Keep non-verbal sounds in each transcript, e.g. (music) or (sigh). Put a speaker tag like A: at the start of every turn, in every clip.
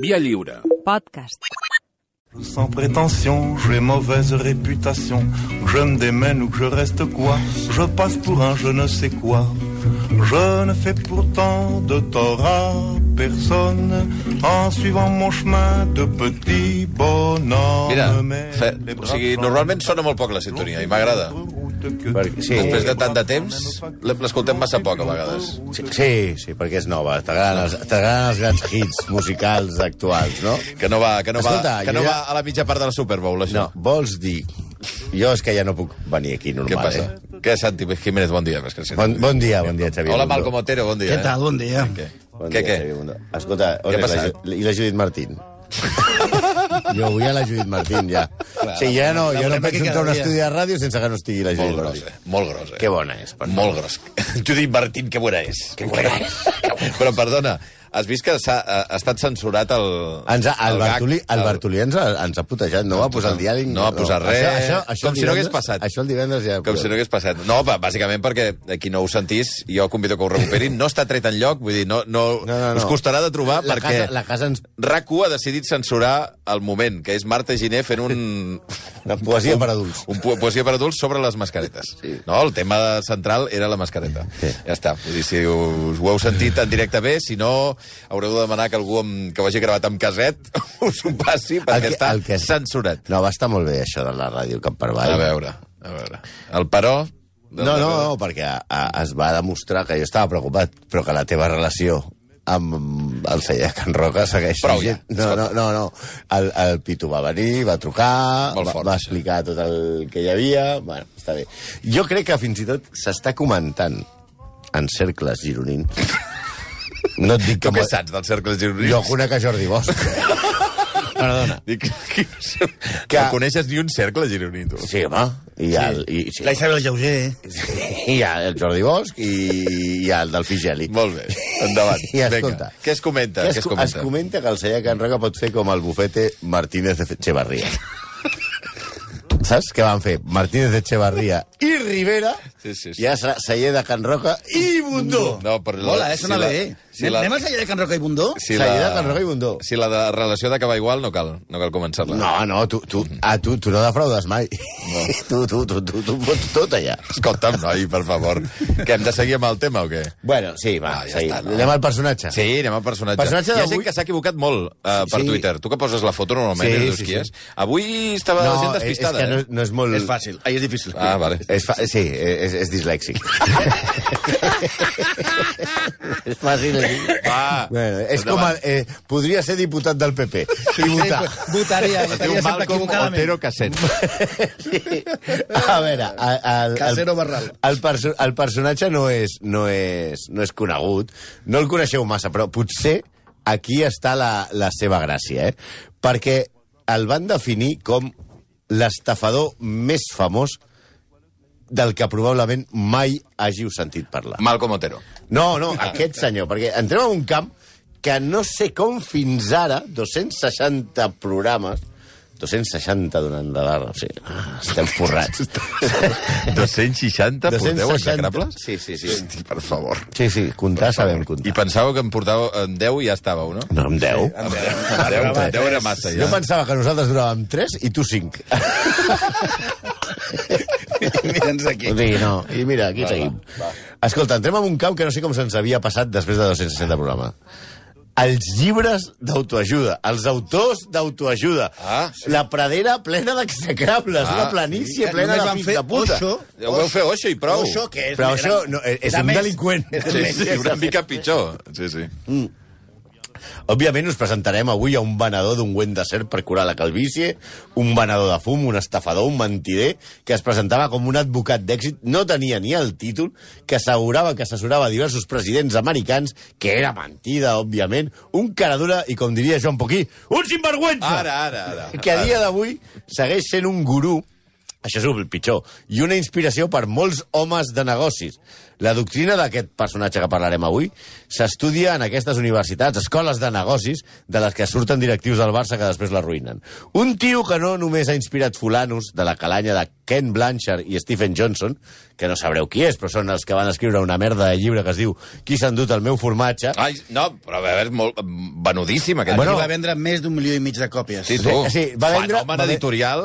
A: Via lliure.
B: Podcast.
C: Sans prétention, j'ai mauvaise réputation. Que je me démène ou que je reste quoi, je passe pour un je ne sais quoi. Je ne fais pourtant de tort à personne en suivant mon chemin de petit bonhomme.
D: Mira,
C: Mais
D: fe,
C: les
D: o
C: braves
D: sigui,
C: gens
D: normalment sona molt poc la sintonia i m'agrada.
E: Perquè- sí.
D: Després de tant de temps, l'hem- l'escoltem massa poc a vegades.
E: Sí, sí, sí perquè és nova. T'agraden els, t'agraden els grans hits musicals actuals, no?
D: Que no va, que no va,
E: Escolta,
D: que no
E: jo ja-
D: va a la mitja part de la Super Bowl,
E: No,
D: això.
E: vols dir... Jo és que ja no puc venir aquí normal,
D: Què passa?
E: eh?
D: Què, Santi Jiménez, bon dia. Més que
E: Bon, bon dia, bon dia, Xavier.
D: Hola,
E: Bundó.
D: Malcom Otero, bon dia. eh?
F: Què tal? Bon dia.
D: Què?
E: Bon
D: Què,
E: dia,
D: què?
E: Xavier Bundó. Escolta,
D: Què
E: on és la,
D: passa?
E: Ju- i la Judit Martín? Jo vull a la Judit Martín, ja.
D: Clar.
E: sí, ja no, jo
F: veurem
E: no
F: aquí
E: penso
F: cada
E: entrar a un
F: dia.
E: estudi de ràdio sense que no estigui la
D: Molt
E: Judit
D: gros,
E: Martín.
D: eh? Molt gros, eh?
E: Que bona és, per
D: Molt gros. (laughs) Judit Martín, que bona és. Que bona és. Però, perdona, has vist que s'ha eh, ha, ha estat censurat el...
E: Ens ha, el,
D: gag,
E: Bartolí, el Bartolí ens ha, ens ha putejat, no va posar el diàleg...
D: no va posar res,
E: Això, això, això
D: com
E: el
D: si no hagués
E: divendres-
D: passat.
E: Això el divendres ja...
D: Com si no hagués passat. No, va, bàsicament perquè eh, qui no ho sentís, jo convido que ho recuperin. No està tret en lloc, vull dir, no, no,
E: No, no, no.
D: us costarà de trobar
E: la
D: perquè...
E: Casa, la casa ens...
D: RAC1 ha decidit censurar el moment, que és Marta Giné fent un...
E: Una poesia per adults.
D: Un po poesia per adults sobre les mascaretes. Sí. No, el tema central era la mascareta. Sí. Ja està. Vull dir, si us ho heu sentit en directe bé, si no, haureu de demanar que algú amb, que ho hagi gravat amb caset (laughs) us ho passi, perquè està censurat.
E: No, va estar molt bé, això de la ràdio Camp per
D: A
E: Avall.
D: veure, a veure. El però... de-
E: No, no, no, perquè a, a, es va demostrar que jo estava preocupat, però que la teva relació amb el celler de Can Roca segueix...
D: Prou ja,
E: vigent. No, no, no, no. El, el Pitu va venir, va trucar,
D: Molt
E: va,
D: fort,
E: va
D: això.
E: explicar tot el que hi havia... Bueno, està bé. Jo crec que fins i tot s'està comentant en cercles gironins. No et dic
D: Tu
E: que...
D: què
E: mo-
D: saps dels cercles gironins?
E: Jo conec a Jordi Bosch. Perdona.
D: (laughs) Dic, que, que...
E: Que-
D: No coneixes ni un cercle gironí, tu.
E: Sí, home. I, el, i, sí.
F: La Isabel Lleuger.
E: hi ha el Jordi Bosch i hi ha el Delfí Geli.
D: Molt bé, endavant.
E: I escolta,
D: Vinga, què es comenta? Què
E: Que es,
D: es,
E: es, comenta?
D: comenta?
E: es comenta que el celler Can Roca pot fer com el bufete Martínez de
D: (laughs)
E: Echevarría. Saps què van fer? Martínez de Echevarría i Rivera,
D: Sí, sí, sí.
E: ja serà celler de Can Roca i Bundó.
D: No, però la-
F: Hola, eh? Sona
D: si la-
F: bé.
D: si la-
F: Anem al celler de Can Roca i Bundó?
D: Si
E: Celler de Can Roca i Bundó.
D: Si la de relació d'acabar igual, no cal, no cal començar-la.
E: No, no, tu, tu, a tu, tu no defraudes mai. (laughs) Tu, tu, tu, tu, tu, pots tot allà.
D: Escolta'm, noi, per favor. que hem de seguir amb el tema o què?
E: Bueno, sí, va,
D: Ah,
E: ah,
D: ja
E: ja
D: està, no?
E: anem al personatge.
D: Sí, anem al personatge.
E: Personatge
D: Hi ha
E: d'avui-
D: gent que s'ha equivocat molt uh, per
E: Sí.
D: Twitter. Tu que poses la foto normalment,
E: Sí,
D: sí, dius
E: sí,
D: qui
E: sí.
D: és. Avui estava la gent
E: No, eh, és, és
D: despistada.
E: que no, no és molt...
F: eh? És fàcil. Ahir és difícil.
D: eh? Ah,
F: (laughs)
D: vale.
E: És fa... Sí, és, és dislèxic. és fàcil.
D: Va,
E: Bueno, és com el, eh, podria ser diputat del PP i votar.
F: Votaria,
D: Es diu
F: votaria sempre
D: Malcolm
F: equivocadament.
D: Otero Casset.
E: (laughs) Sí. A veure, el, el,
F: Casero
E: el,
F: Barral.
E: el, perso el personatge no és, no, és, no és conegut, no el coneixeu massa, però potser aquí està la, la seva gràcia, eh? perquè el van definir com l'estafador més famós del que probablement mai hàgiu sentit parlar.
D: Malcolm Otero.
E: No, no, aquest senyor, perquè entrem a un camp que no sé com fins ara, 260 programes, 260 donant de barra, sí, ah, estem (laughs) forrats.
D: 260, 260. porteu
E: 260.
D: execrables?
E: Sí, sí, sí.
D: Hosti, per favor.
E: Sí, sí, comptar sabem
D: I
E: comptar.
D: pensàveu que em portàveu en 10 i ja estàveu, no?
E: No, amb 10.
D: En 10, en 10, en 10 era massa, ja.
E: Jo pensava que nosaltres duràvem 3 i tu 5.
F: Mira'ns aquí.
E: O sigui, no. I mira, aquí seguim. Escolta, entrem en un camp que no sé com se'ns havia passat després de 260 programes. Els llibres d'autoajuda, els autors d'autoajuda.
D: Ah, sí.
E: La pradera plena d'execrables,
D: Ah,
E: una planícia
F: Que
E: plena
F: només
E: de
F: van
E: fills
F: fer
E: de puta.
F: Osho,
D: Ho vau fer Oixo i prou.
F: Osho, que és...
E: Però
F: més
E: això
F: gran.
E: no, eh, és
F: Era
E: un
F: més.
E: delinqüent. És
D: Sí,
E: un
D: sí, una mica pitjor. Sí, sí.
E: Òbviament us presentarem avui a un venedor d'ungüent de ser per curar la calvície, un venedor de fum, un estafador, un mentider, que es presentava com un advocat d'èxit, no tenia ni el títol, que assegurava que assessorava diversos presidents americans, que era mentida, òbviament, un cara dura i, com diria Joan Poquí, un sinvergüenza!
D: Ara, ara, ara.
E: que a dia d'avui segueix sent un gurú Això és el pitjor. I una inspiració per molts homes de negocis. La doctrina d'aquest personatge que parlarem avui s'estudia en aquestes universitats, escoles de negocis, de les que surten directius del Barça que després l'arruïnen. Un tio que no només ha inspirat fulanos de la calanya de Ken Blanchard i Stephen Johnson, que no sabreu qui és, però són els que van escriure una merda de llibre que es diu Qui s'ha endut el meu formatge,
D: Ai, no, però a veure, és molt venudíssim, aquest
E: Bueno,
D: bueno,
F: I va vendre més d'un milió i mig de còpies.
D: Sí, tu.
E: sí, va vendre-
D: Fenomen
E: va ve-
D: editorial...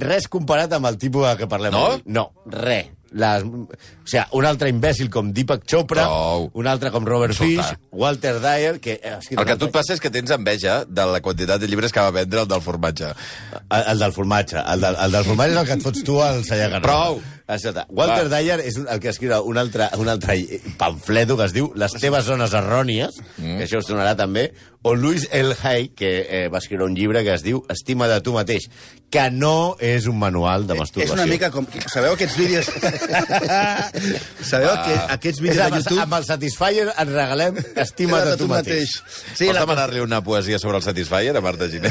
E: res comparat amb el tipus de que parlem
D: No?
E: avui. No, res. Les, o sigui, un altre imbècil com Deepak Chopra,
D: Prou.
E: un altre com Robert
D: Insultar.
E: Fish, Walter Dyer... Que, eh, o sigui,
D: El que a tu et passa és que tens enveja de la quantitat de llibres que va vendre el del formatge.
E: El, el del formatge. El del, el del formatge és el que et fots tu al Sallagarra.
D: Prou.
E: Això, ta. Walter
D: Va.
E: Dyer és un, el que escriu un altre, un altre pamfleto que es diu Les teves zones errònies, mm. que això us sonarà també, o Louis L. Hay, que eh, va escriure un llibre que es diu Estima de tu mateix, que no és un manual
D: Eh,
E: de
F: És
E: masturbació.
F: una mica com... Sabeu aquests
D: (laughs)
F: vídeos... Sabeu que aquests
E: És
F: vídeos
E: amb,
F: de YouTube...
E: amb el Satisfyer ens regalem Estima de tu mateix.
D: Sí,
F: Sí,
D: Vols
F: la...
D: demanar-li una poesia sobre el Satisfyer a Marta Giné?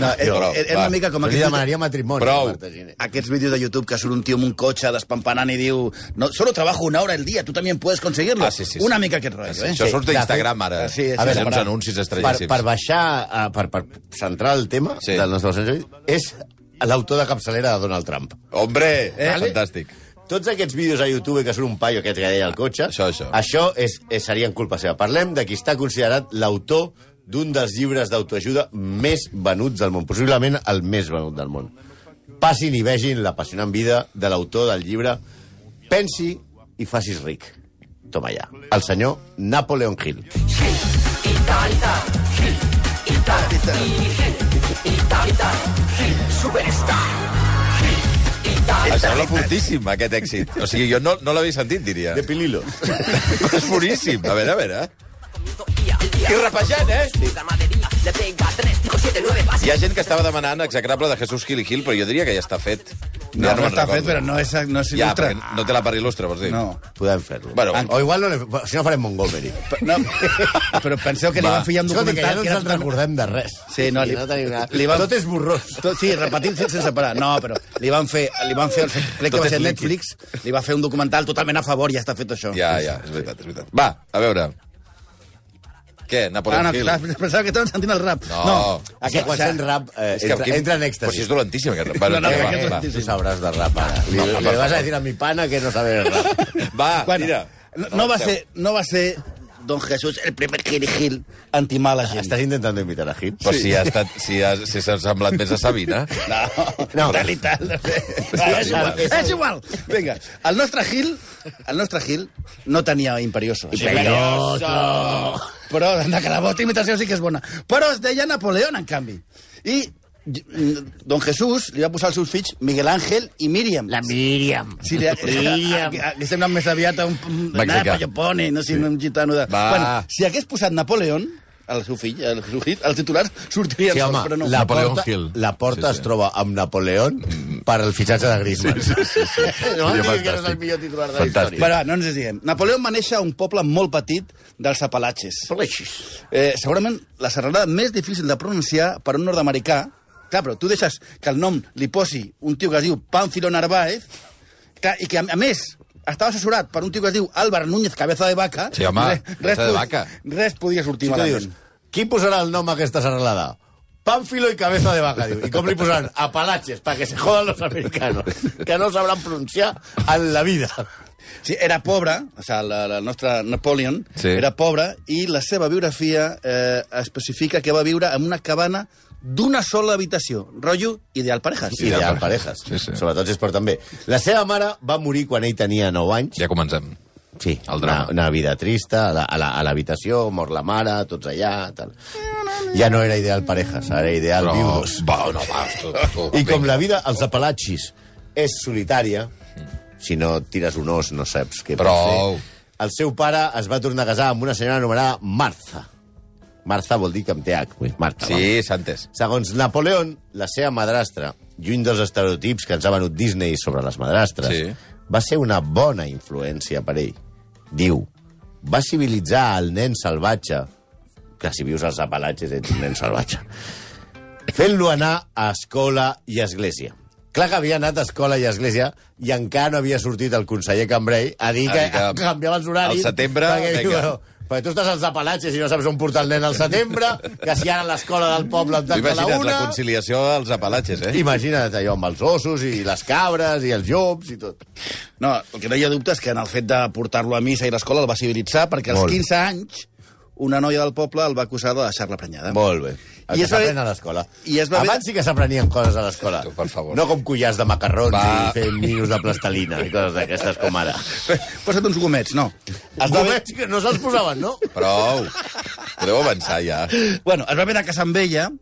F: No, és, és una mica com
E: Com li
F: aquests,
E: demanaria matrimoni.
D: Prou.
E: Marta Giné.
F: aquests vídeos de YouTube que surt un tio amb un cotxe despampanant i diu no, solo trabajo una hora al dia, tu també puedes conseguirlo.
D: Ah, sí, sí, sí.
F: Una mica aquest rotllo,
D: Sí,
F: eh?
D: això surt a
E: de
D: Instagram,
E: fet-
D: ara.
F: Sí, sí,
D: a
F: sí,
D: veure, uns
F: per-
D: anuncis
E: Per,
D: estrellíssims.
E: per baixar, eh, per, per centrar el tema
D: Sí.
E: sí. del nostre senzill, és l'autor de capçalera de Donald Trump.
D: Hombre, eh?
E: Vale.
D: fantàstic.
E: Tots aquests vídeos a YouTube que surt un paio aquest que deia el cotxe,
D: Això, això.
E: això és, és, serien culpa seva. Parlem de qui està considerat l'autor d'un dels llibres d'autoajuda més venuts del món, possiblement el més venut del món. Passin i vegin l'apassionant vida de l'autor del llibre Pensi i facis ric. Toma ja. El senyor Napoleon Hill.
D: Em sembla fortíssim, aquest èxit. O sigui, jo no, no l'havia sentit, diria.
E: De Pililos.
D: (laughs) És boníssim. A veure, a veure. I repejant, eh? Hi ha gent que estava demanant execrable de Jesús Gil i Gil, però jo diria que ja està fet.
F: No, no,
D: me'n
F: està
D: recordo.
F: fet, però no és, no és
D: Ja,
F: il·lustre.
D: perquè no té la part il·lustre, vols dir?
F: No.
E: (laughs) Podem fer-lo. Ah,
D: Bueno,
E: o igual no le... Si no farem Montgomery.
F: Pe- no. (laughs) Però penseu que li
D: Va.
F: van fillar un
E: Escolta, que ja
F: documental
E: no
F: que
E: ens
F: era
E: en recordem de res.
F: Sí, no,
E: I
F: li-
E: tenim nada.
F: li van-
E: Tot és borrós.
F: Tot, sí, repetint sense, sense parar. No, però li van fer... Li van
D: (laughs)
F: fer crec
D: Tot
F: que va
D: és
F: ser
D: líquid.
F: Netflix, li va fer un documental totalment a favor, ja està fet això.
D: Ja, ja, és veritat, és veritat. Va, a veure. Què,
F: Ah,
D: Napoleon
F: no,
D: Hill?
F: clar, (laughs) pensava que estaven sentint el rap.
D: No.
E: És que quan sent rap, eh,
D: És que
E: entra,
D: aquí-
E: entra en
D: Però si
E: èxtasi.
D: és dolentíssim, aquest
F: (laughs)
D: rap.
F: No, no,
D: va,
F: aquest és
D: va,
E: eh, tu
F: dolentíssim.
E: sabràs de rap, ara. Li,
D: No, no, per
E: li vas
D: favor.
E: a dir a mi pana que no sabe de
D: (laughs)
E: rap.
D: va,
F: Bueno,
D: mira.
F: No, no, va ser, no va ser Don Jesús el primer Gil Gil antimala gent.
E: Estàs intentant imitar a Hit?
D: Però si ha estat, si ha, si s'ha semblat més a Sabina...
F: (laughs) No,
E: No.
F: no. tal i tal. (laughs) No
E: igual,
F: sé. és igual,
E: és igual.
F: és igual. Vinga, el nostre Gil, el nostre Gil no tenia imperioso.
E: Imperioso!
F: Però, anda, que la vostra imitació sí que és bona. Però es deia Napoleón, en canvi. I mm, Don Jesús li va posar als seus fills Miguel Ángel i Míriam.
A: La Miriam.
F: Sí, li,
A: Míriam.
F: li, li sembla més aviat un, un,
D: Mexicà.
F: un pallopone, no sé, sí. un gitano de...
D: Va.
F: Bueno, si hagués posat Napoleón, el seu fill, el, seu fill, el titular, sortiria
E: Sí,
F: sol,
E: home,
F: però no.
E: la
D: Napoleon
E: porta,
D: Hill.
E: la porta
D: Sí, sí.
E: es troba amb Napoleón per al fitxatge de Griezmann. Sí, sí, sí. (laughs)
D: Seria
E: No, em diguis que no és el
D: fantàstic.
E: millor titular de la
D: Fantàstic.
E: història.
F: Però va, no ens diem. Napoleó va néixer a un poble molt petit dels Apalatxes.
E: Fletxis.
F: Eh, segurament la serralada més difícil de pronunciar per a un nord-americà. Clar, però tu deixes que el nom li posi un tio que es diu Pánfilo Narváez, clar, i que, a, a més, estava assessorat per un tio que es diu Álvaro Núñez Cabeza de Vaca.
D: Sí, home, Cabeza de
F: podi-
D: Vaca.
F: Res podia sortir
E: Si tu dius,
F: malament.
E: qui posarà el nom a aquesta serralada? Pánfilo y cabeza de vaca, diu. I com li posaran? Apalaches, para que se jodan los americanos, que no sabran pronunciar en la vida.
F: Sí, era pobre, o sigui, la, la nostra Napoleon
D: Sí.
F: sí. era pobre, i la seva biografia eh, especifica que va viure en una cabana d'una sola habitació. Rotllo ideal parejas.
E: Sí, Ideal, parejas.
D: Sí, sí.
E: Sobretot si és per també. La seva mare va morir quan ell tenia 9 anys.
D: Ja comencem.
E: Sí,
D: El drama.
E: Una, una vida trista, a la- a la- a l'habitació, mor la mare, tots allà, tal. Ja no era ideal parejas, ara era ideal
D: Però...
E: viudos.
D: Va, no, va. Tu, tu,
E: I com
D: vinga.
E: la vida als apalatxis és solitària, si no tires un os no saps què pots
D: Prou.
E: fer, el seu pare es va tornar a casar amb una senyora anomenada Martha. Martha vol dir que amb TH, vull dir, Marta. va.
D: Sí, Santes.
E: Segons Napoleón, la seva madrastra, lluny dels estereotips que ens ha venut Disney sobre les madrastres,
D: Sí.
E: va ser una bona influència per ell. Diu, va civilitzar el nen salvatge, que si vius als apalatges ets un nen salvatge, fent-lo anar a escola i església. Clar que havia anat a escola i a església i encara no havia sortit el conseller Cambrai a dir
D: A
E: que,
D: dir que
E: canviava els horaris.
D: al setembre,
E: Perquè, diu,
D: vinga.
E: "Bueno, perquè tu estàs als apalatges i no saps on portar el nen al setembre, que si ara l'escola del poble et
D: T'ho
E: tanca a la
D: imagina't,
E: una...
D: la conciliació als apalatges, eh?
E: Imagina't allò amb els ossos i les cabres i els llops i tot.
F: No, el que no hi ha dubte és que en el fet de portar-lo a missa i a l'escola el va civilitzar perquè als
E: Molt.
F: 15 anys una noia del poble el va acusar de deixar-la prenyada.
E: Molt bé.
F: I
E: I
F: es
E: es
F: va
E: s'aprèn
F: ve-
E: a l'escola.
F: i es va ve-
E: Abans sí que s'aprenien coses a l'escola.
D: Tu, per favor.
E: No com collars de macarrons
D: Va.
E: i fer ninos de plastelina i coses d'aquestes
D: (laughs)
E: com ara.
F: Posa't uns gomets, no.
E: Es va haver... que No se'ls posaven, no?
D: Prou. Podeu avançar, ja.
F: Bueno, es va haver de casar amb ella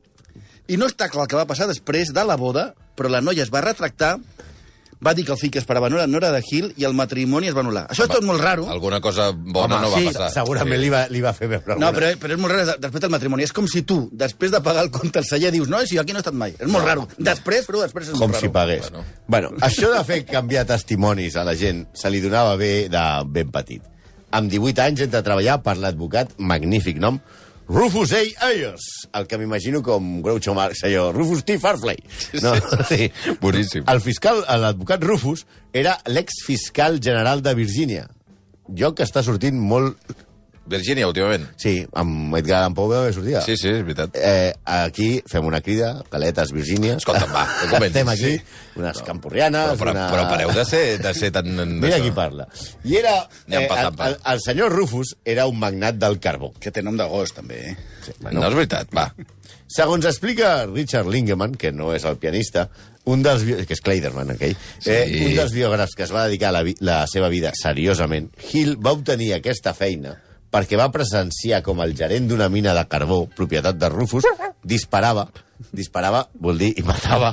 F: i no està clar el que va passar després de la boda, però la noia es va retractar, va dir que el fill que esperava no era, no era de Gil i el matrimoni es va anul·lar. Això és tot molt raro.
D: Alguna cosa bona no va
F: sí,
D: passar.
E: Segurament li, va, li va fer veure
F: No,
E: alguna.
F: però, però és molt raro de- després del matrimoni. És com si tu, després de pagar el compte al celler, dius, no, si jo aquí no he estat mai. És molt raro. Després, però després és
E: Com
F: molt
E: si
F: raro.
E: pagués.
D: Bueno.
E: Bueno. bueno, això de fer canviar testimonis a la gent se li donava bé de ben petit. Amb 18 anys entra a treballar per l'advocat, magnífic nom, Rufus A. Ayers, el que m'imagino com Groucho Marx, allò, Rufus T. Farfley. No, sí.
D: Boníssim.
E: El fiscal, l'advocat Rufus, era l'exfiscal general de Virgínia. Joc que està sortint molt...
D: Virgínia, últimament.
E: Sí, amb Edgar Allan Poe va sortir.
D: Sí, sí, és veritat.
E: Eh, aquí fem una crida, Caletes, Virgínia.
D: Escolta'm,
E: (laughs)
D: va, que comencis.
E: Estem aquí,
D: Sí.
E: unes campurrianes...
D: Però, però,
E: una...
D: però pareu de ser, de ser tan...
E: (laughs) Mira qui parla. I era...
D: Anem
E: Eh,
D: pas,
E: el,
D: anem pas.
E: el, el senyor Rufus era un magnat del carbó.
F: Que té nom de gos, també. eh?
E: Sí,
D: No és veritat, va.
E: Eh, Segons explica Richard Lingeman, que no és el pianista, un dels... bio- que és Clayderman, aquell,
D: Sí.
E: eh, un dels biògrafs que es va dedicar la, vi- la seva vida seriosament, Hill va obtenir aquesta feina perquè va presenciar com el gerent d'una mina de carbó, propietat de Rufus, disparava, disparava, vol dir, i matava,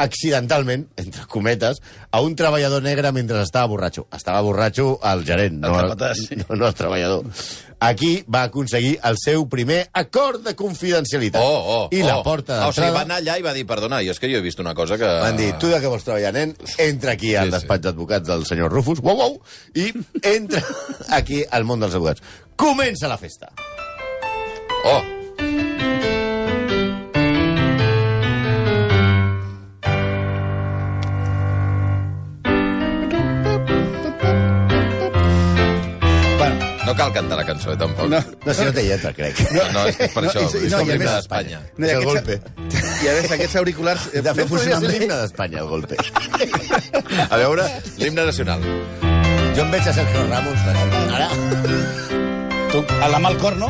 E: accidentalment, entre cometes, a un treballador negre mentre estava borratxo. Estava borratxo el gerent, no,
F: capatàs, sí.
E: no, no el treballador. Aquí va aconseguir el seu primer acord de confidencialitat.
D: Oh, oh,
E: I la
D: oh.
E: porta
D: Ah, O sigui, va
E: d'entrada...
D: anar allà i va dir, perdona, jo és que jo he vist una cosa que...
E: Van dir, tu de què vols treballar, nen? Entra aquí
D: Sí,
E: al
D: sí.
E: despatx d'advocats del senyor Rufus, uau, uau, i entra (laughs) aquí al món dels advocats. Comença la festa.
D: Oh,
F: Bueno,
D: no cal cantar la cançó, eh, tampoc.
F: no,
E: No, si no té lletra, crec.
D: No, no, és que és per això,
F: i- i-
D: és
F: no,
D: com
F: i a
D: l'himne
F: més-
D: d'Espanya.
F: No, i
E: és el
F: aquests-
E: golpe. (laughs)
F: I a veure, aquests auriculars eh,
E: De fet,
F: no
E: podria
F: funcionen
E: ser
F: bé.
E: l'himne d'Espanya, el golpe.
D: A veure, l'himne nacional.
E: Jo em veig a Sergio Ramos, ara,
F: Tu, a la mà al cor, no?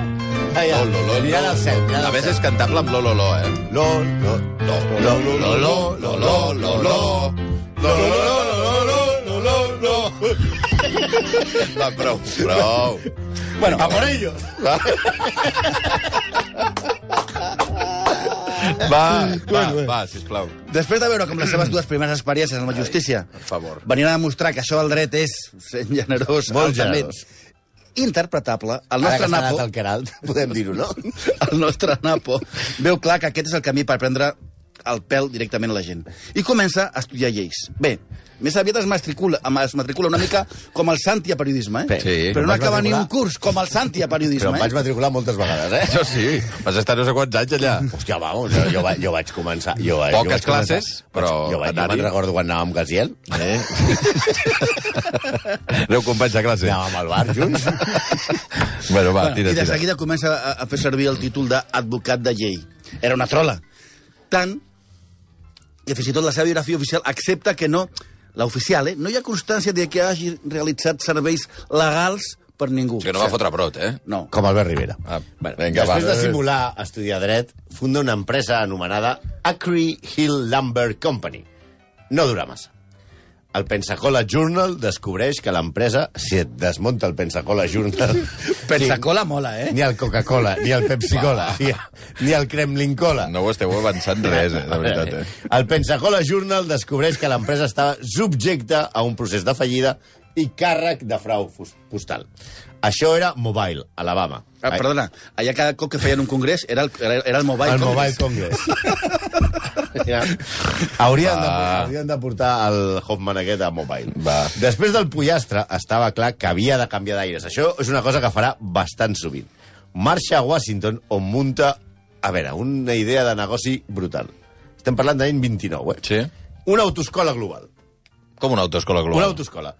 E: allà,
D: Lo, lo, lo,
E: mirant
D: lo.
E: al cel, mirant
D: A
E: al
D: més,
E: cel.
D: és cantable amb lo, lo, lo, eh?
E: Lo, lo, lo, lo, lo, lo, lo, lo, lo, lo, lo. Lo, lo, lo, lo, lo, lo, lo, lo.
D: Va, prou, prou.
F: Bueno,
E: A por ellos. Ah,
D: Va, va, va, sisplau.
F: després de veure com les seves dues primeres experiències amb la justícia
D: per favor.
F: venien a demostrar que això del dret és sent generós,
E: Molt
F: altament
E: generós.
F: interpretable, el
E: Ara que
F: nostre
E: s'ha anat
F: Napo...
E: al Queralt, podem dir-ho, no?
F: (laughs) el nostre Napo, veu clar que aquest és el camí per prendre el pèl directament a la gent. I comença a estudiar lleis. Bé, més aviat es matricula, es matricula una mica com el Santi a periodisme, eh?
D: Sí.
F: Però no
E: Em vaig
F: acaba ni
E: matricular-
F: un curs com el Santi a
E: Però
F: periodisme,
E: em vaig
F: eh?
E: matricular moltes vegades, eh?
D: Això sí, vas estar no sé quants anys allà.
E: Hòstia, vamos, jo, jo, va- jo vaig començar... Jo, jo
D: Poques
E: vaig començar-
D: classes, però
E: Jo, vaig, jo
D: anar-hi.
E: me'n recordo quan anàvem amb Gaziel. Eh?
D: (laughs) Aneu companys de classe.
E: Anàvem al bar junts.
D: Bueno, va,
F: I
D: tira,
F: de
D: tira.
F: seguida comença a, a fer servir el títol d'advocat de llei. Era una trola. Tant que fins i tot la seva biografia oficial accepta que no, l'oficial, eh? No hi ha constància de que hagi realitzat serveis legals per ningú.
D: És que no va fotre brot, eh?
F: No.
E: Com Albert Rivera.
D: Ah,
E: Bueno,
D: vinga, va.
E: Després de simular estudiar dret, funda una empresa anomenada Acree Hill Lumber Company. No dura massa. El Pensacola Journal descobreix que l'empresa, si et desmunta el Pensacola
D: (laughs)
E: Journal...
F: Pensacola mola, eh?
E: Ni el Coca-Cola, ni el Pepsi-Cola, ni, ni el Kremlin-Cola.
D: No ho esteu avançant res, eh, de veritat, eh?
E: El Pensacola Journal descobreix que l'empresa estava subjecta a un procés de fallida i càrrec de frau fus- postal. Això era Mobile, Alabama.
F: Ah, perdona, allà cada cop que feien un congrés era el, era, era el Mobile
E: El Mobile
F: Congress.
E: Congress.
D: (laughs)
E: Ja. Haurien, de,
D: Va.
E: haurien de portar el Hoffman aquest a Mobile.
D: Va.
E: Després del pollastre, estava clar que havia de canviar d'aires. Això és una cosa que farà bastant sovint. Marxa a Washington, on munta, a veure, una idea de negoci brutal. Estem parlant de l'any 29, eh?
D: Sí.
E: Una autoscola global.
D: Com una autoescola global?
E: Una autoscola.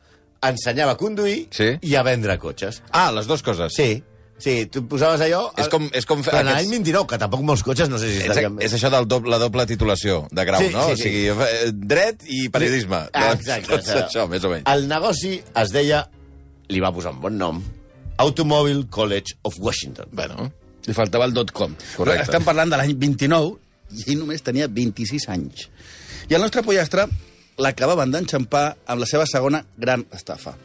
E: Ensenyava a conduir
D: Sí.
E: i a vendre cotxes.
D: Ah, les dues coses.
E: Sí, sí, tu posaves allò...
D: És com- és com fer
E: Però en
D: aquests-
E: l'any 29, que tampoc molts cotxes no sé si
D: És,
E: estarien...
D: és això de doble, la doble titulació de grau,
E: Sí,
D: no? o
E: sí,
D: sigui, eh, dret i periodisme.
E: Ah,
D: Doncs,
E: exacte. Ah.
D: Doncs, això, més o menys.
E: El negoci es deia... Li va posar un bon nom. Automobile College of Washington.
D: Bueno,
F: Li faltava el dot-com.
D: Correcte.
F: Estem parlant de l'any 29 i ell només tenia 26 anys. I el nostre pollastre l'acabaven d'enxampar amb la seva segona gran estafa.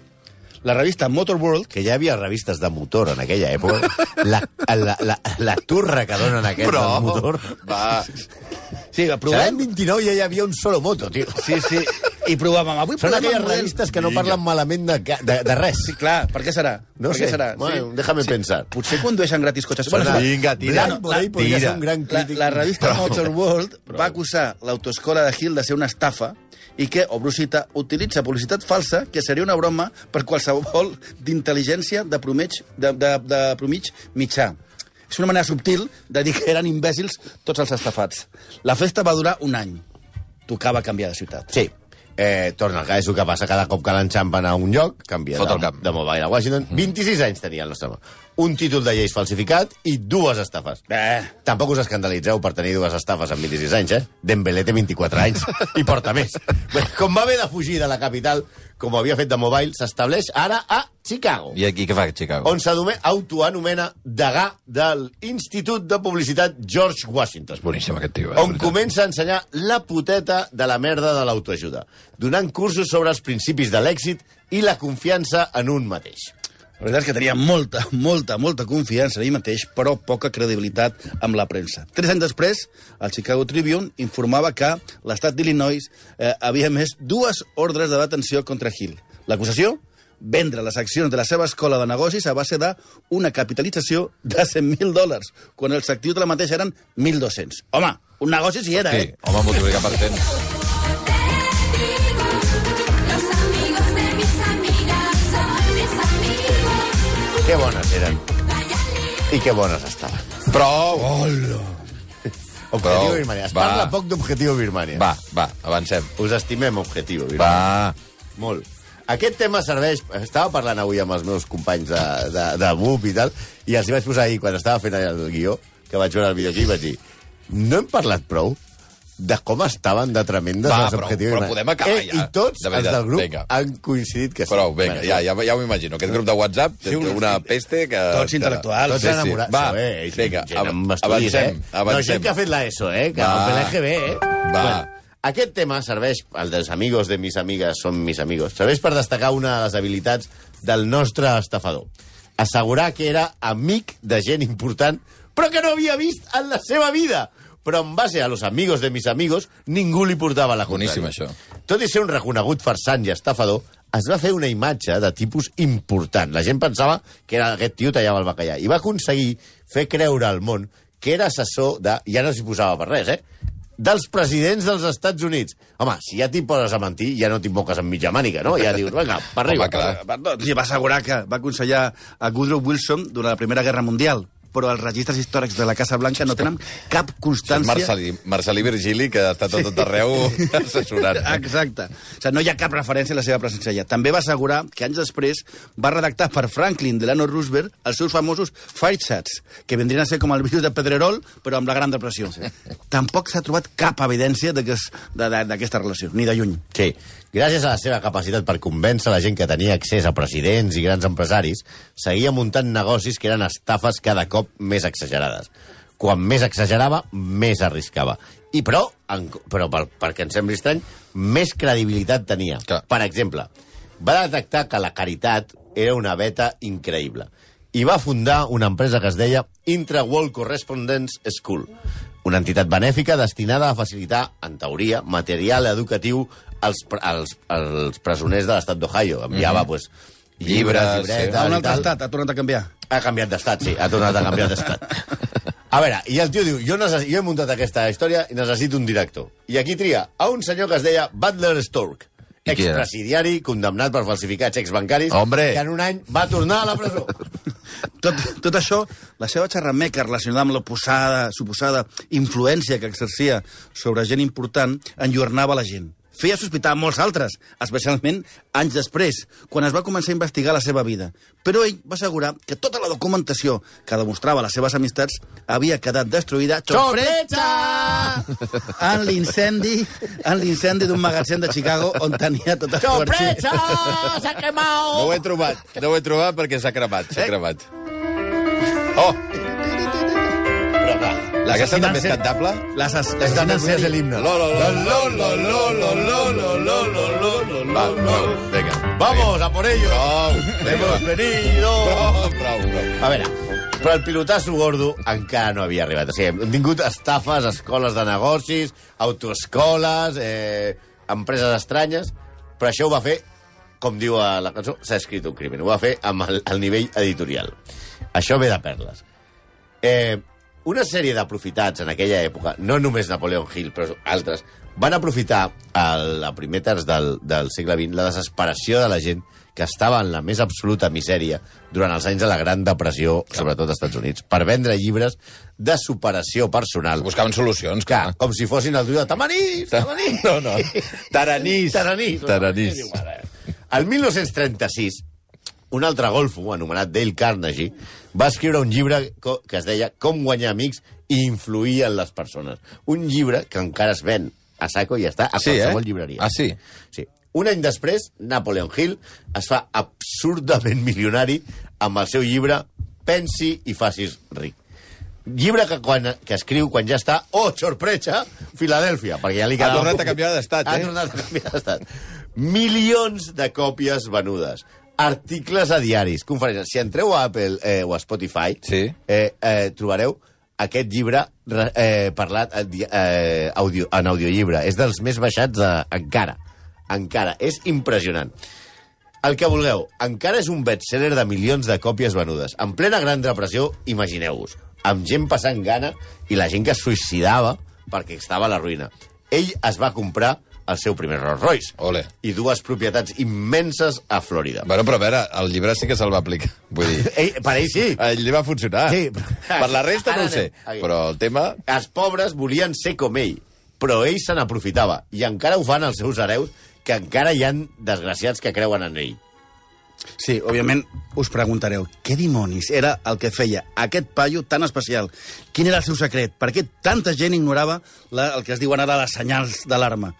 F: La revista Motorworld,
E: que ja hi havia revistes de motor en aquella època, la, la, la, la turra que donen aquests Però... del motor.
D: va...
F: sí,
E: L'any
F: aprovem...
E: 29 ja hi havia un solo moto, tio.
F: Sí, sí, i provàvem. Avui
E: Són
F: provem
E: aquelles
F: el model.
E: revistes que no parlen malament de, ca- de, de res.
F: Sí, clar, per què serà?
E: No
F: per
E: sé,
F: què serà?
E: bueno, déjame pensar.
F: Potser condueixen gratis cotxes.
E: Sona-
F: Bueno,
D: Vinga, tira.
E: Blanc Borrell podria ser un gran
F: La,
E: crític.
F: la revista Motorworld va acusar l'autoescola de Hill de ser una estafa i que, obro cita, utilitza publicitat falsa que seria una broma per qualsevol d'intel·ligència de, promeig, de, de, de promig mitjà. És una manera subtil de dir que eren imbècils tots els estafats. La festa va durar un any. Tocava canviar de ciutat.
E: Sí. Eh, torna, que és el que passa cada cop que l'enxampen a un lloc, canvia
D: Fot
E: de,
D: el camp. Mm.
E: de Mobile a Washington. 26 anys tenia el nostre home. Un títol de lleis falsificat i dues estafes.
F: Eh.
E: Tampoc us escandalitzeu per tenir dues estafes amb 26 anys, eh? Dembélé té 24 anys i porta més. Bé, Com va haver de fugir de la capital, com ho havia fet de Mobile, s'estableix ara a Chicago,
D: I aquí què fa, Chicago?
E: on s'adome- autoanomena degà del Institut de Publicitat George Washington
D: Boníssim, aquest tio. Eh?
E: on
D: de veritat.
E: comença a ensenyar la puteta de la merda de l'autoajuda, donant cursos sobre els principis de l'èxit i la confiança en un mateix.
F: La veritat és que tenia molta, molta, molta confiança en ell mateix, però poca credibilitat amb la premsa. Tres anys després, el Chicago Tribune informava que l'estat d'Illinois eh, havia emès dues ordres de detenció contra Hill. L'acusació? Vendre les accions de la seva escola de negocis a base d'una capitalització de 100.000 dòlars, quan els actius de la mateixa eren 1.200. Home, un negoci sí era,
D: Sí,
F: eh?
D: home, multiplicar per 100.
A: Los amigos de mis amigas son mis amigos.
E: Que bones eren.
A: Vaya lío.
E: I que bones estaven.
D: Prou! Hola!
E: Objectiu Birmania. Es
D: va.
E: parla poc d'Objectiu Birmania.
D: Va, va, avancem.
E: Us estimem, Objectiu Birmania.
D: Va.
E: Molt. Aquest tema serveix... Estava parlant avui amb els meus companys de, de, de BUP i tal, i els hi vaig posar ahir, quan estava fent el guió, que vaig veure el videoclip, vaig dir, no hem parlat prou de com estaven de tremendes
D: Va,
E: les
D: prou,
E: objectius.
D: però podem acabar
E: eh,
D: ja,
E: I
D: de
E: tots de els
D: veritat,
E: del grup
D: vinga.
E: han coincidit que sí.
D: Prou, vinga,
E: Bueno,
D: ja, ja, ja ho imagino. Aquest grup de WhatsApp té una peste que...
F: Tots intel·lectuals.
D: Sí,
E: Tots
D: sí.
E: enamorats.
D: Va,
E: eh? eh? Gent-
D: vinga,
E: gent amb
D: av-
E: estudis,
D: avancem,
E: eh? No, gent
D: avancem.
E: que ha fet l'ESO, eh? Que
D: Va.
E: va. la l'EGB, eh?
D: Va.
E: aquest tema serveix, el dels amigos de mis amigues són mis amigos, serveix per destacar una de les habilitats del nostre estafador. Assegurar que era amic de gent important, però que no havia vist en la seva vida. Però en base a los amigos de mis amigos, ningú li portava la
D: Boníssim,
E: contrària.
D: això.
E: Tot i ser un reconegut farsant i estafador, es va fer una imatge de tipus important. La gent pensava que era aquest tio tallava el bacallà. I va aconseguir fer creure al món que era assessor de... Ja no s'hi posava per res, eh? dels presidents dels Estats Units. Home, si ja t'hi poses a mentir, ja no t'hi moques amb mitja màniga, no? Ja dius, vinga, per arriba.
D: Home, clar.
F: Perdó,
E: doncs.
F: sí, va assegurar que va aconsellar a Woodrow Wilson durant la Primera Guerra Mundial, però els registres històrics de la Casa Blanca no tenen cap
D: És
F: constància...
D: Marcelí, Marcelí Virgili, que està tot, tot arreu (laughs) assessorant.
E: eh? Ah,
F: Exacte. O sigui, no hi ha cap referència a la seva presència allà. També va assegurar que anys després va redactar per Franklin Delano Roosevelt els seus famosos Firechats, que vendrien a ser com el virus de Pedrerol, però amb la Gran Depressió. Tampoc s'ha trobat cap evidència d'aquest- de- de- d'aquesta relació, ni de lluny.
E: Sí. Gràcies a la seva capacitat per convèncer la gent que tenia accés a presidents i grans empresaris, seguia muntant negocis que eren estafes cada cop més exagerades. Quan més exagerava, més arriscava. I però, en, però per, perquè ens sembli estrany, més credibilitat tenia.
D: Clar.
E: Per exemple, va detectar que la caritat era una beta increïble i va fundar una empresa que es deia Intra-World Correspondence School, una entitat benèfica destinada a facilitar, en teoria, material educatiu als, pre- als, als presoners de l'estat d'Ohio. Enviava, mm -hmm. pues, llibres,
D: Mhm. Llibres,
E: llibretes...
D: sí. Ah,
E: i
F: A un altre
E: tal.
F: estat ha tornat a canviar.
E: Ha canviat d'estat, sí, ha tornat a canviar d'estat.
D: (laughs)
E: A veure, i el tio diu, jo, necess... jo he muntat aquesta història i necessito un director. I aquí tria a un senyor que es deia Butler Stork,
D: I qui era?
E: expresidiari condemnat per falsificar xecs bancaris,
D: Hombre.
E: que en un any va tornar a la presó.
F: Tot, tot això, la seva xerrameca relacionada amb la posada, suposada influència que exercia sobre gent important, enlluernava la gent. feia sospitar a molts altres, especialment anys després, quan es va començar a investigar la seva vida. Però ell va assegurar que tota la documentació que demostrava les seves amistats havia quedat destruïda sorpresa! en l'incendi en l'incendi d'un magatzem de Chicago on tenia tota totes les
E: ¡Sorpresa!
D: (laughs)
E: ¡Se ha quemado! ¿Eh?
D: No ho he trobat, no ho he trobat perquè s'ha cremat, s'ha cremat. Oh! Aquesta també és cantable?
F: Les, les, les,
E: Esta no es el
D: Lo,
E: himno.
D: lo, lo, lo, lo, lo, lo, lo, lo, lo, lo, lo, lo, lo. Va, prou, vinga.
E: ¡Vamos, a por ello!
D: Prou, vinga, va. Oh.
E: ¡Hemos venido!
D: Prou, prou, prou.
E: A veure, però el pilotasso gordo encara no havia arribat. O sigui, hem tingut estafes, escoles de negocis, autoescoles, eh, empreses estranyes, però això ho va fer, com diu a la cançó, s'ha escrit un crimen. Ho va fer amb el, el nivell editorial. Això ve de perles. Eh, una sèrie d'aprofitats en aquella època, no només Napoleon Hill, però altres, van aprofitar a la primer terç del, del segle XX la desesperació de la gent que estava en la més absoluta misèria durant els anys de la Gran Depressió, sobretot als Estats Units, per vendre llibres de superació personal.
D: Buscaven solucions,
E: Que,
D: clar.
E: com si fossin el duo de Tamanís, Tamanís.
D: No, no. Taranís.
E: Taranís.
D: Taranís.
E: El 1936, un altre golfo, anomenat Dale Carnegie, va escriure un llibre co- que es deia Com guanyar amics i influir en les persones. Un llibre que encara es ven a saco i està a
D: Sí, eh?
E: qualsevol llibreria.
D: Ah, sí?
E: Sí. Un any després, Napoleon Hill es fa absurdament milionari amb el seu llibre Pensi i facis ric. Llibre que, quan, que escriu quan ja està, oh, sorpresa, Filadèlfia, perquè ja li
D: Ha
E: quedava...
D: tornat a
E: poc.
D: canviar d'estat,
E: Ha
D: eh?
E: tornat a canviar d'estat. Milions de còpies venudes, articles a diaris, conferències... Si entreu a Apple eh, o a Spotify,
D: Sí.
E: eh, eh, trobareu aquest llibre re- eh, parlat a di- eh, audio, en audiollibre. És dels més baixats de, encara. Encara. És impressionant. El que vulgueu, encara és un bestseller de milions de còpies venudes. En plena gran depressió, imagineu-vos, amb gent passant gana i la gent que es suïcidava perquè estava a la ruïna. Ell es va comprar el seu primer Rolls Royce
D: Ole.
E: i dues propietats immenses a Florida.
D: Bueno, però a veure, el llibre sí que se'l va aplicar. Vull dir,
E: Ell, per ell sí.
D: a ell li va funcionar.
E: Sí.
D: Per la resta no ho sé,
E: Ara anem.
D: però el tema...
E: Els pobres volien ser com ell, però ell se n'aprofitava, i encara ho fan els seus hereus, que encara hi han desgraciats que creuen en ell.
F: Sí, òbviament us preguntareu què dimonis era el que feia aquest paio tan especial? Quin era el seu secret? Per què tanta gent ignorava la, el que es diuen ara les senyals d'alarma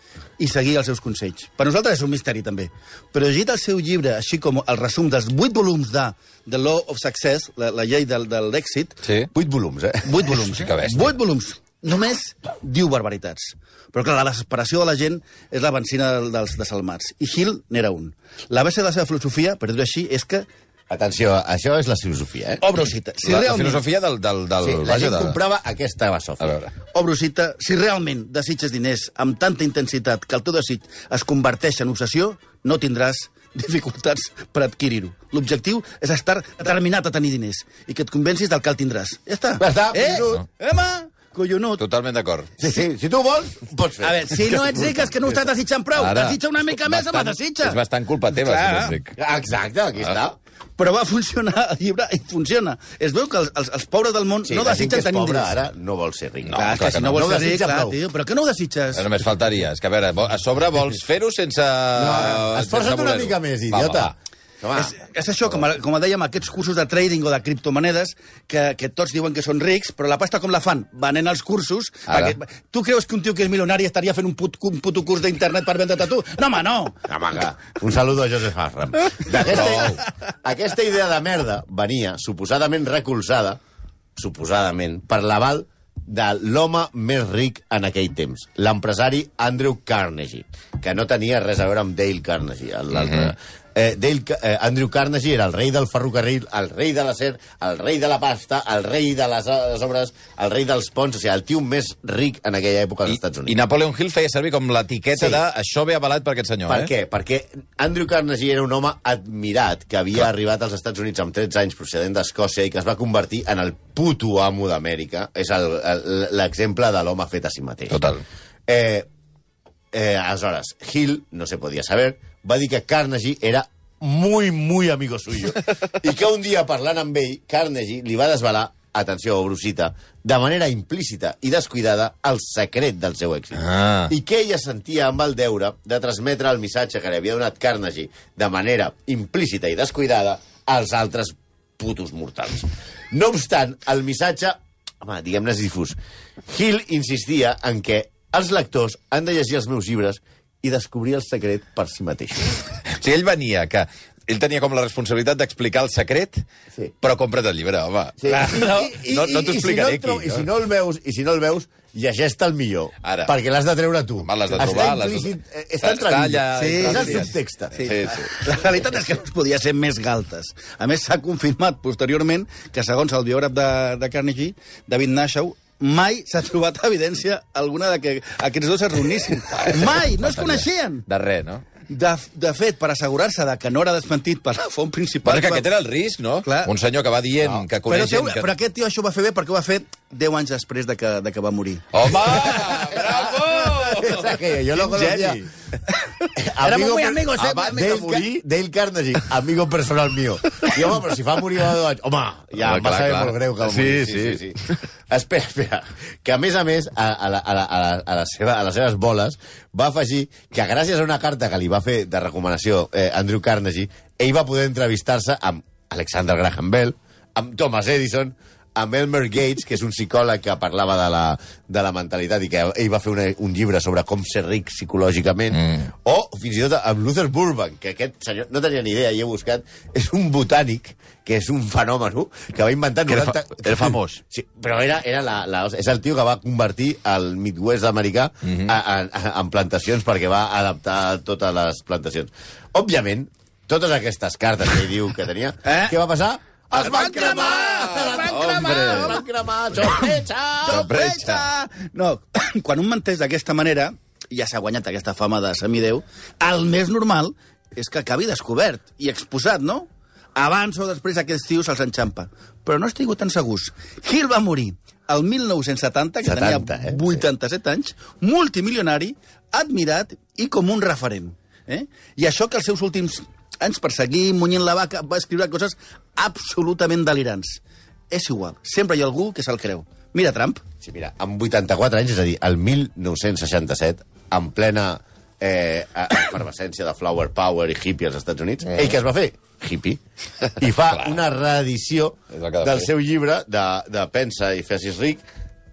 F: i seguia els seus consells? Per nosaltres és un misteri, també. Però llegit el seu llibre, així com el resum dels vuit volums de The Law of Success, la, la llei del, de l'èxit,
D: Sí.
E: Vuit volums, eh?
F: Vuit volums,
D: Sí que
F: eh?
D: bèstia.
F: Vuit volums. Només diu barbaritats. Però clar, la desesperació de la gent és la benzina del- dels desalmats. I Hill n'era un. La base de la seva filosofia, per dir-ho així, és que...
E: Atenció, això és la filosofia, eh?
F: Obro cita. Si
D: la, la
F: realment,
D: filosofia del... del, del
E: sí,
D: Eh,
E: la
D: vaja,
E: gent
D: de-
E: comprava aquesta
D: A
E: basòfia.
D: veure.
F: Obro cita. Si realment desitges diners amb tanta intensitat que el teu desig es converteix en obsessió, no tindràs dificultats per adquirir-ho. L'objectiu és estar determinat a tenir diners i que et convencis del que el tindràs. Ja està.
E: Ja està,
F: eh?
E: collonut.
F: Home, collonut.
D: Totalment d'acord.
E: Sí, sí, si tu vols, ho pots fer.
F: A veure, si no ets ric és que no ho estàs desitjant prou.
D: Ara,
F: Desitja una mica més, home, desitja.
D: És bastant culpa teva,
F: Clar.
D: si no et dic. Ah,
E: Exacte, aquí està.
F: Però va funcionar el llibre i funciona. Es veu que els, els, els pobres del món no
E: la gent que
F: desitgen
E: és
F: tenir
E: pobra,
F: diners.
E: Ara no vol ser ric.
D: No,
F: clar,
D: clar
F: és que si
D: que
F: no,
D: no.
F: vols
E: No ho
F: ser ric,
E: desitja
F: clar,
E: prou.
F: tio. Però que no ho desitges?
D: Només faltaria. És que, a veure, vo- a sobre vols fer-ho sense... No,
E: Esforça't una mica més, idiota. Home,
F: És, és això, com, a- com a dèiem, aquests cursos de trading o de criptomonedes, que, que tots diuen que són rics, però la pasta com la fan? Venent els cursos.
D: Ara.
F: Perquè, tu creus que un tio que és milionari estaria fent un, put, un puto curs d'internet per vendre't a tu? No, home, no!
E: Amaga. (laughs) Un saludo a Joseph Hasram. Aquesta, aquesta idea de merda venia suposadament recolzada, suposadament, per l'aval de l'home més ric en aquell temps, l'empresari Andrew Carnegie, que no tenia res a veure amb Dale Carnegie, l'altre. Mm -hmm. eh, Dale, Ca- eh, Andrew Carnegie era el rei del ferrocarril, el rei de l'acer, el rei de la pasta, el rei de les, eh, les obres, el rei dels ponts, o sigui, el tio més ric en aquella època als
D: I,
E: Estats Units.
D: I Napoleon Hill feia servir com l'etiqueta
E: Sí.
D: sí. de això ve avalat per aquest senyor,
E: Per
D: eh?
E: què? Perquè Andrew Carnegie era un home admirat que havia Clar. arribat als Estats Units amb 13 anys procedent d'Escòcia i que es va convertir en el puto amo d'Amèrica. És el- el- l'exemple de l'home fet a si mateix.
D: Total.
E: Eh, eh, aleshores, Hill, no se podia saber, va dir que Carnegie era
D: (laughs)
E: muy, muy amigo suyo. I que un dia, parlant amb ell, Carnegie li va desvelar atenció, Brusita, de manera implícita i descuidada, el secret del seu èxit.
D: Ah.
E: I que ella sentia amb el deure de transmetre el missatge que li havia donat Carnegie de manera implícita i descuidada als altres putos mortals. No obstant, el missatge, home, diguem-ne és difús. Hill insistia en que els lectors han de llegir els meus llibres i descobrir el secret per si mateixos.
D: O sigui, ell venia que... Ell tenia com la responsabilitat d'explicar el secret, sí.
E: Sí.
D: però compra't el llibre, home.
E: Sí.
D: (laughs) Clar, no,
E: I- i-
D: no, no
E: i-
D: t'ho explicaré
E: i si no el trau-
D: aquí.
E: I si
D: no?
E: no el veus, i si no el veus llegeix-te'l millor.
D: Ara.
E: Perquè l'has de treure tu.
D: Home, l'has de
E: Està
D: trobar, l'has de-
E: implícit, eh,
D: Està
E: Està entremig.
D: allà,
E: Sí, és el
F: entre línies.
E: subtext.
D: Sí, sí.
F: La realitat és que no es podia ser més galtes. A més, s'ha confirmat posteriorment que, segons el biògraf de, de Carnegie, David Nashaw, mai s'ha trobat evidència alguna de que aquests dos es (laughs) reunissin. Mai! No es coneixien!
D: De res, no?
F: De, de fet, per assegurar-se de que no era desmentit per la font principal...
D: Però és que aquest era el risc, no?
F: Clar.
D: Un senyor que va dient no. que coneix
F: però, teu,
D: gent... Que...
F: però aquest tio això ho va fer bé perquè ho va fer 10 anys després de que, de que va morir.
D: Home, bravo!
E: És aquella, jo lo conocía.
D: geni.
F: Éramos muy amigos, eh,
E: abans
F: amigo
E: Dale, Car- Dale Carnegie, amigo personal mío. I, home, però si fa morir va dos anys... Home, ja
D: Home,
E: home, em va
D: clar,
E: saber
D: clar.
E: molt greu que el
D: Sí,
E: morís.
D: sí.
E: Espera, espera. Que, a més a més, a, a, la, a, la, a, la, a, la seva, a les seves boles va afegir que gràcies a una carta que li va fer de recomanació eh, Andrew Carnegie, ell va poder entrevistar-se amb Alexander Graham Bell, amb Thomas Edison, amb Elmer Gates, que és un psicòleg que parlava de la, de la mentalitat i que ell va fer una, un llibre sobre com ser ric psicològicament, mm. o fins i tot amb Luther Burbank, que aquest senyor no tenia ni idea, i he buscat, és un botànic, que és un fenomen, que va inventar...
B: Que era fa- era famós.
E: (laughs) Sí, però era, era la, la, és el tio que va convertir el Midwest americà mm -hmm. a, a, a, en plantacions perquè va adaptar totes les plantacions. Òbviament, totes aquestes cartes que ell diu que tenia, (laughs) eh?
F: Eh?
E: què va passar? Es van cremar!
F: Es van
E: cremar! Es van cremar! Sorpresa!
F: Sorpresa! No, (coughs) quan un menteix d'aquesta manera, ja s'ha guanyat aquesta fama de semideu, el més normal és que acabi descobert i exposat, no? Abans o després aquests tios els enxampa. Però no estic tan segurs. Hill va morir el 1970, que
E: 70, eh?
F: tenia 87 anys, multimilionari, admirat i com un referent. Eh? I això que els seus últims anys per seguir munyint la vaca va escriure coses absolutament delirants. És igual, sempre hi ha algú que se'l creu. Mira Trump.
E: Sí, mira, amb 84 anys, és a dir, el 1967, en plena eh, a- efervescència de Flower Power i hippie als Estats Units,
D: Eh.
E: ell què es va fer? Hippie. I fa una reedició
D: És el que ha de
E: del
D: fer.
E: seu llibre de, de Pensa i Fessis Ric,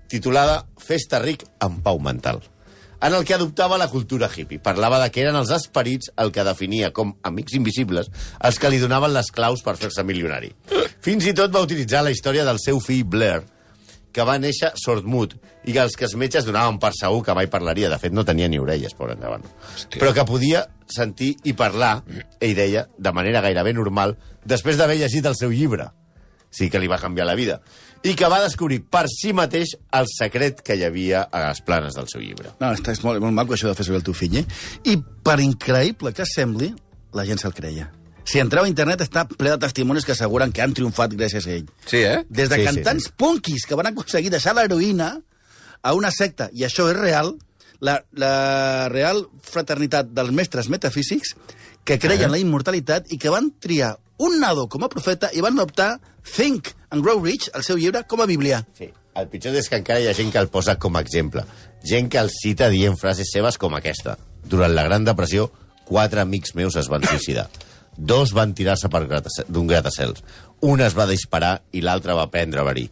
E: titulada Festa Ric en Pau Mental en el que adoptava la cultura hippie. Parlava de que eren els esperits el que definia com amics invisibles els que li donaven les claus per fer-se milionari. Fins i tot va utilitzar la història del seu fill Blair, que va néixer sordmut i que els que els metges donaven per segur que mai parlaria. De fet, no tenia ni orelles, per endavant. Hòstia. Però que podia sentir i parlar, ell deia, de manera gairebé normal, després d'haver llegit el seu llibre. Sí que li va canviar la vida. I que va descobrir per si mateix el secret que hi havia a les planes del seu llibre.
F: No, està, és molt, molt maco això de fer servir el teu fill, eh? I per increïble que sembli, la gent se'l creia. Si entreu a internet està ple de testimonis que asseguren que han triomfat gràcies a ell.
D: Sí, eh?
F: Des de
E: Sí,
F: sí,
E: sí.
F: cantants sí. punkis que van aconseguir deixar l'heroïna a una secta, i això és real, la, la Real Fraternitat dels Mestres Metafísics, que creien
E: Eh?
F: la immortalitat i que van triar un nadó com a profeta i van optar Think and Grow Rich, el seu llibre, com a Bíblia.
E: Sí. El pitjor és que encara hi ha gent que el posa com a exemple. Gent que el cita dient frases seves com aquesta. Durant la Gran Depressió, quatre amics meus es van suïcidar. Dos van tirar-se per gratace- d'un gratacels. Un es va disparar i l'altre va prendre verí.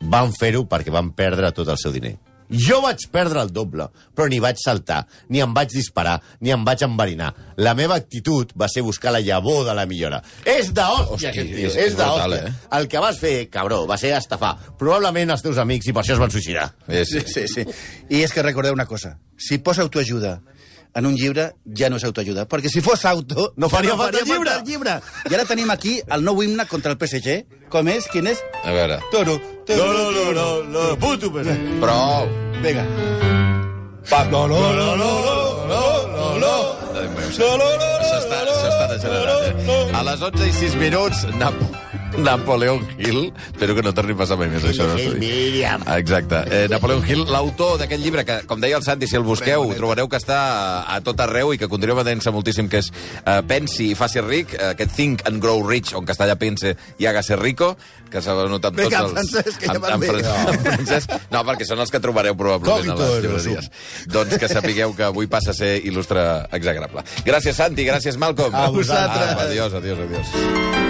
E: Van fer-ho perquè van perdre tot el seu diner. Jo vaig perdre el doble, però ni vaig saltar, ni em vaig disparar, ni em vaig enverinar. La meva actitud va ser buscar la llavor de la millora. És d'hòstia, aquest tio.
D: és- és
E: És
D: brutal,
E: d'hòstia.
D: eh?
E: El que vas fer, cabró, va ser estafar probablement els teus amics i per això es van suïcidar.
D: Sí, sí.
F: Sí, sí, sí. I és que recordeu una cosa. Si posa autoajuda en un llibre, ja no és autoajuda. Perquè si fos auto...
E: No faria falta el llibre.
F: el llibre. I ara tenim aquí el nou himne contra el PSG. Com és? Quin és?
D: A veure...
F: Toro. Toro.
E: no, no, no, no, puto, però...
D: Prou!
F: Vinga.
D: No, no, no, no, no, no, no. S'està s'està degenerant, eh? A les 11 i 6 minuts, Nap... Napoleon Hill. Espero que no torni a passar mai més això. No
E: Hill,
D: sé.
E: Miriam.
D: Exacte. Eh, Napoleon Hill, l'autor d'aquest llibre, que, com deia el Santi, si el busqueu, ho trobareu que està a tot arreu i que continua venent-se moltíssim, que és eh, Pensi i faci ric, eh, aquest Think and Grow Rich, on castellà pense i hágase rico, que s'ha notat tots
E: Vinga,
D: els...
E: Francesc, que ja
D: en,
E: vas
D: en,
E: bé.
D: Fran- en Francesc, no, perquè són els que trobareu probablement a
E: Cogito,
D: les
E: ergo
D: llibreries. Doncs que sapigueu que avui passa a ser il·lustre exagrable. Gràcies, Santi, gràcies, Malcolm.
E: A vosaltres.
D: Apa, adiós, adiós, adiós.
E: Adéu.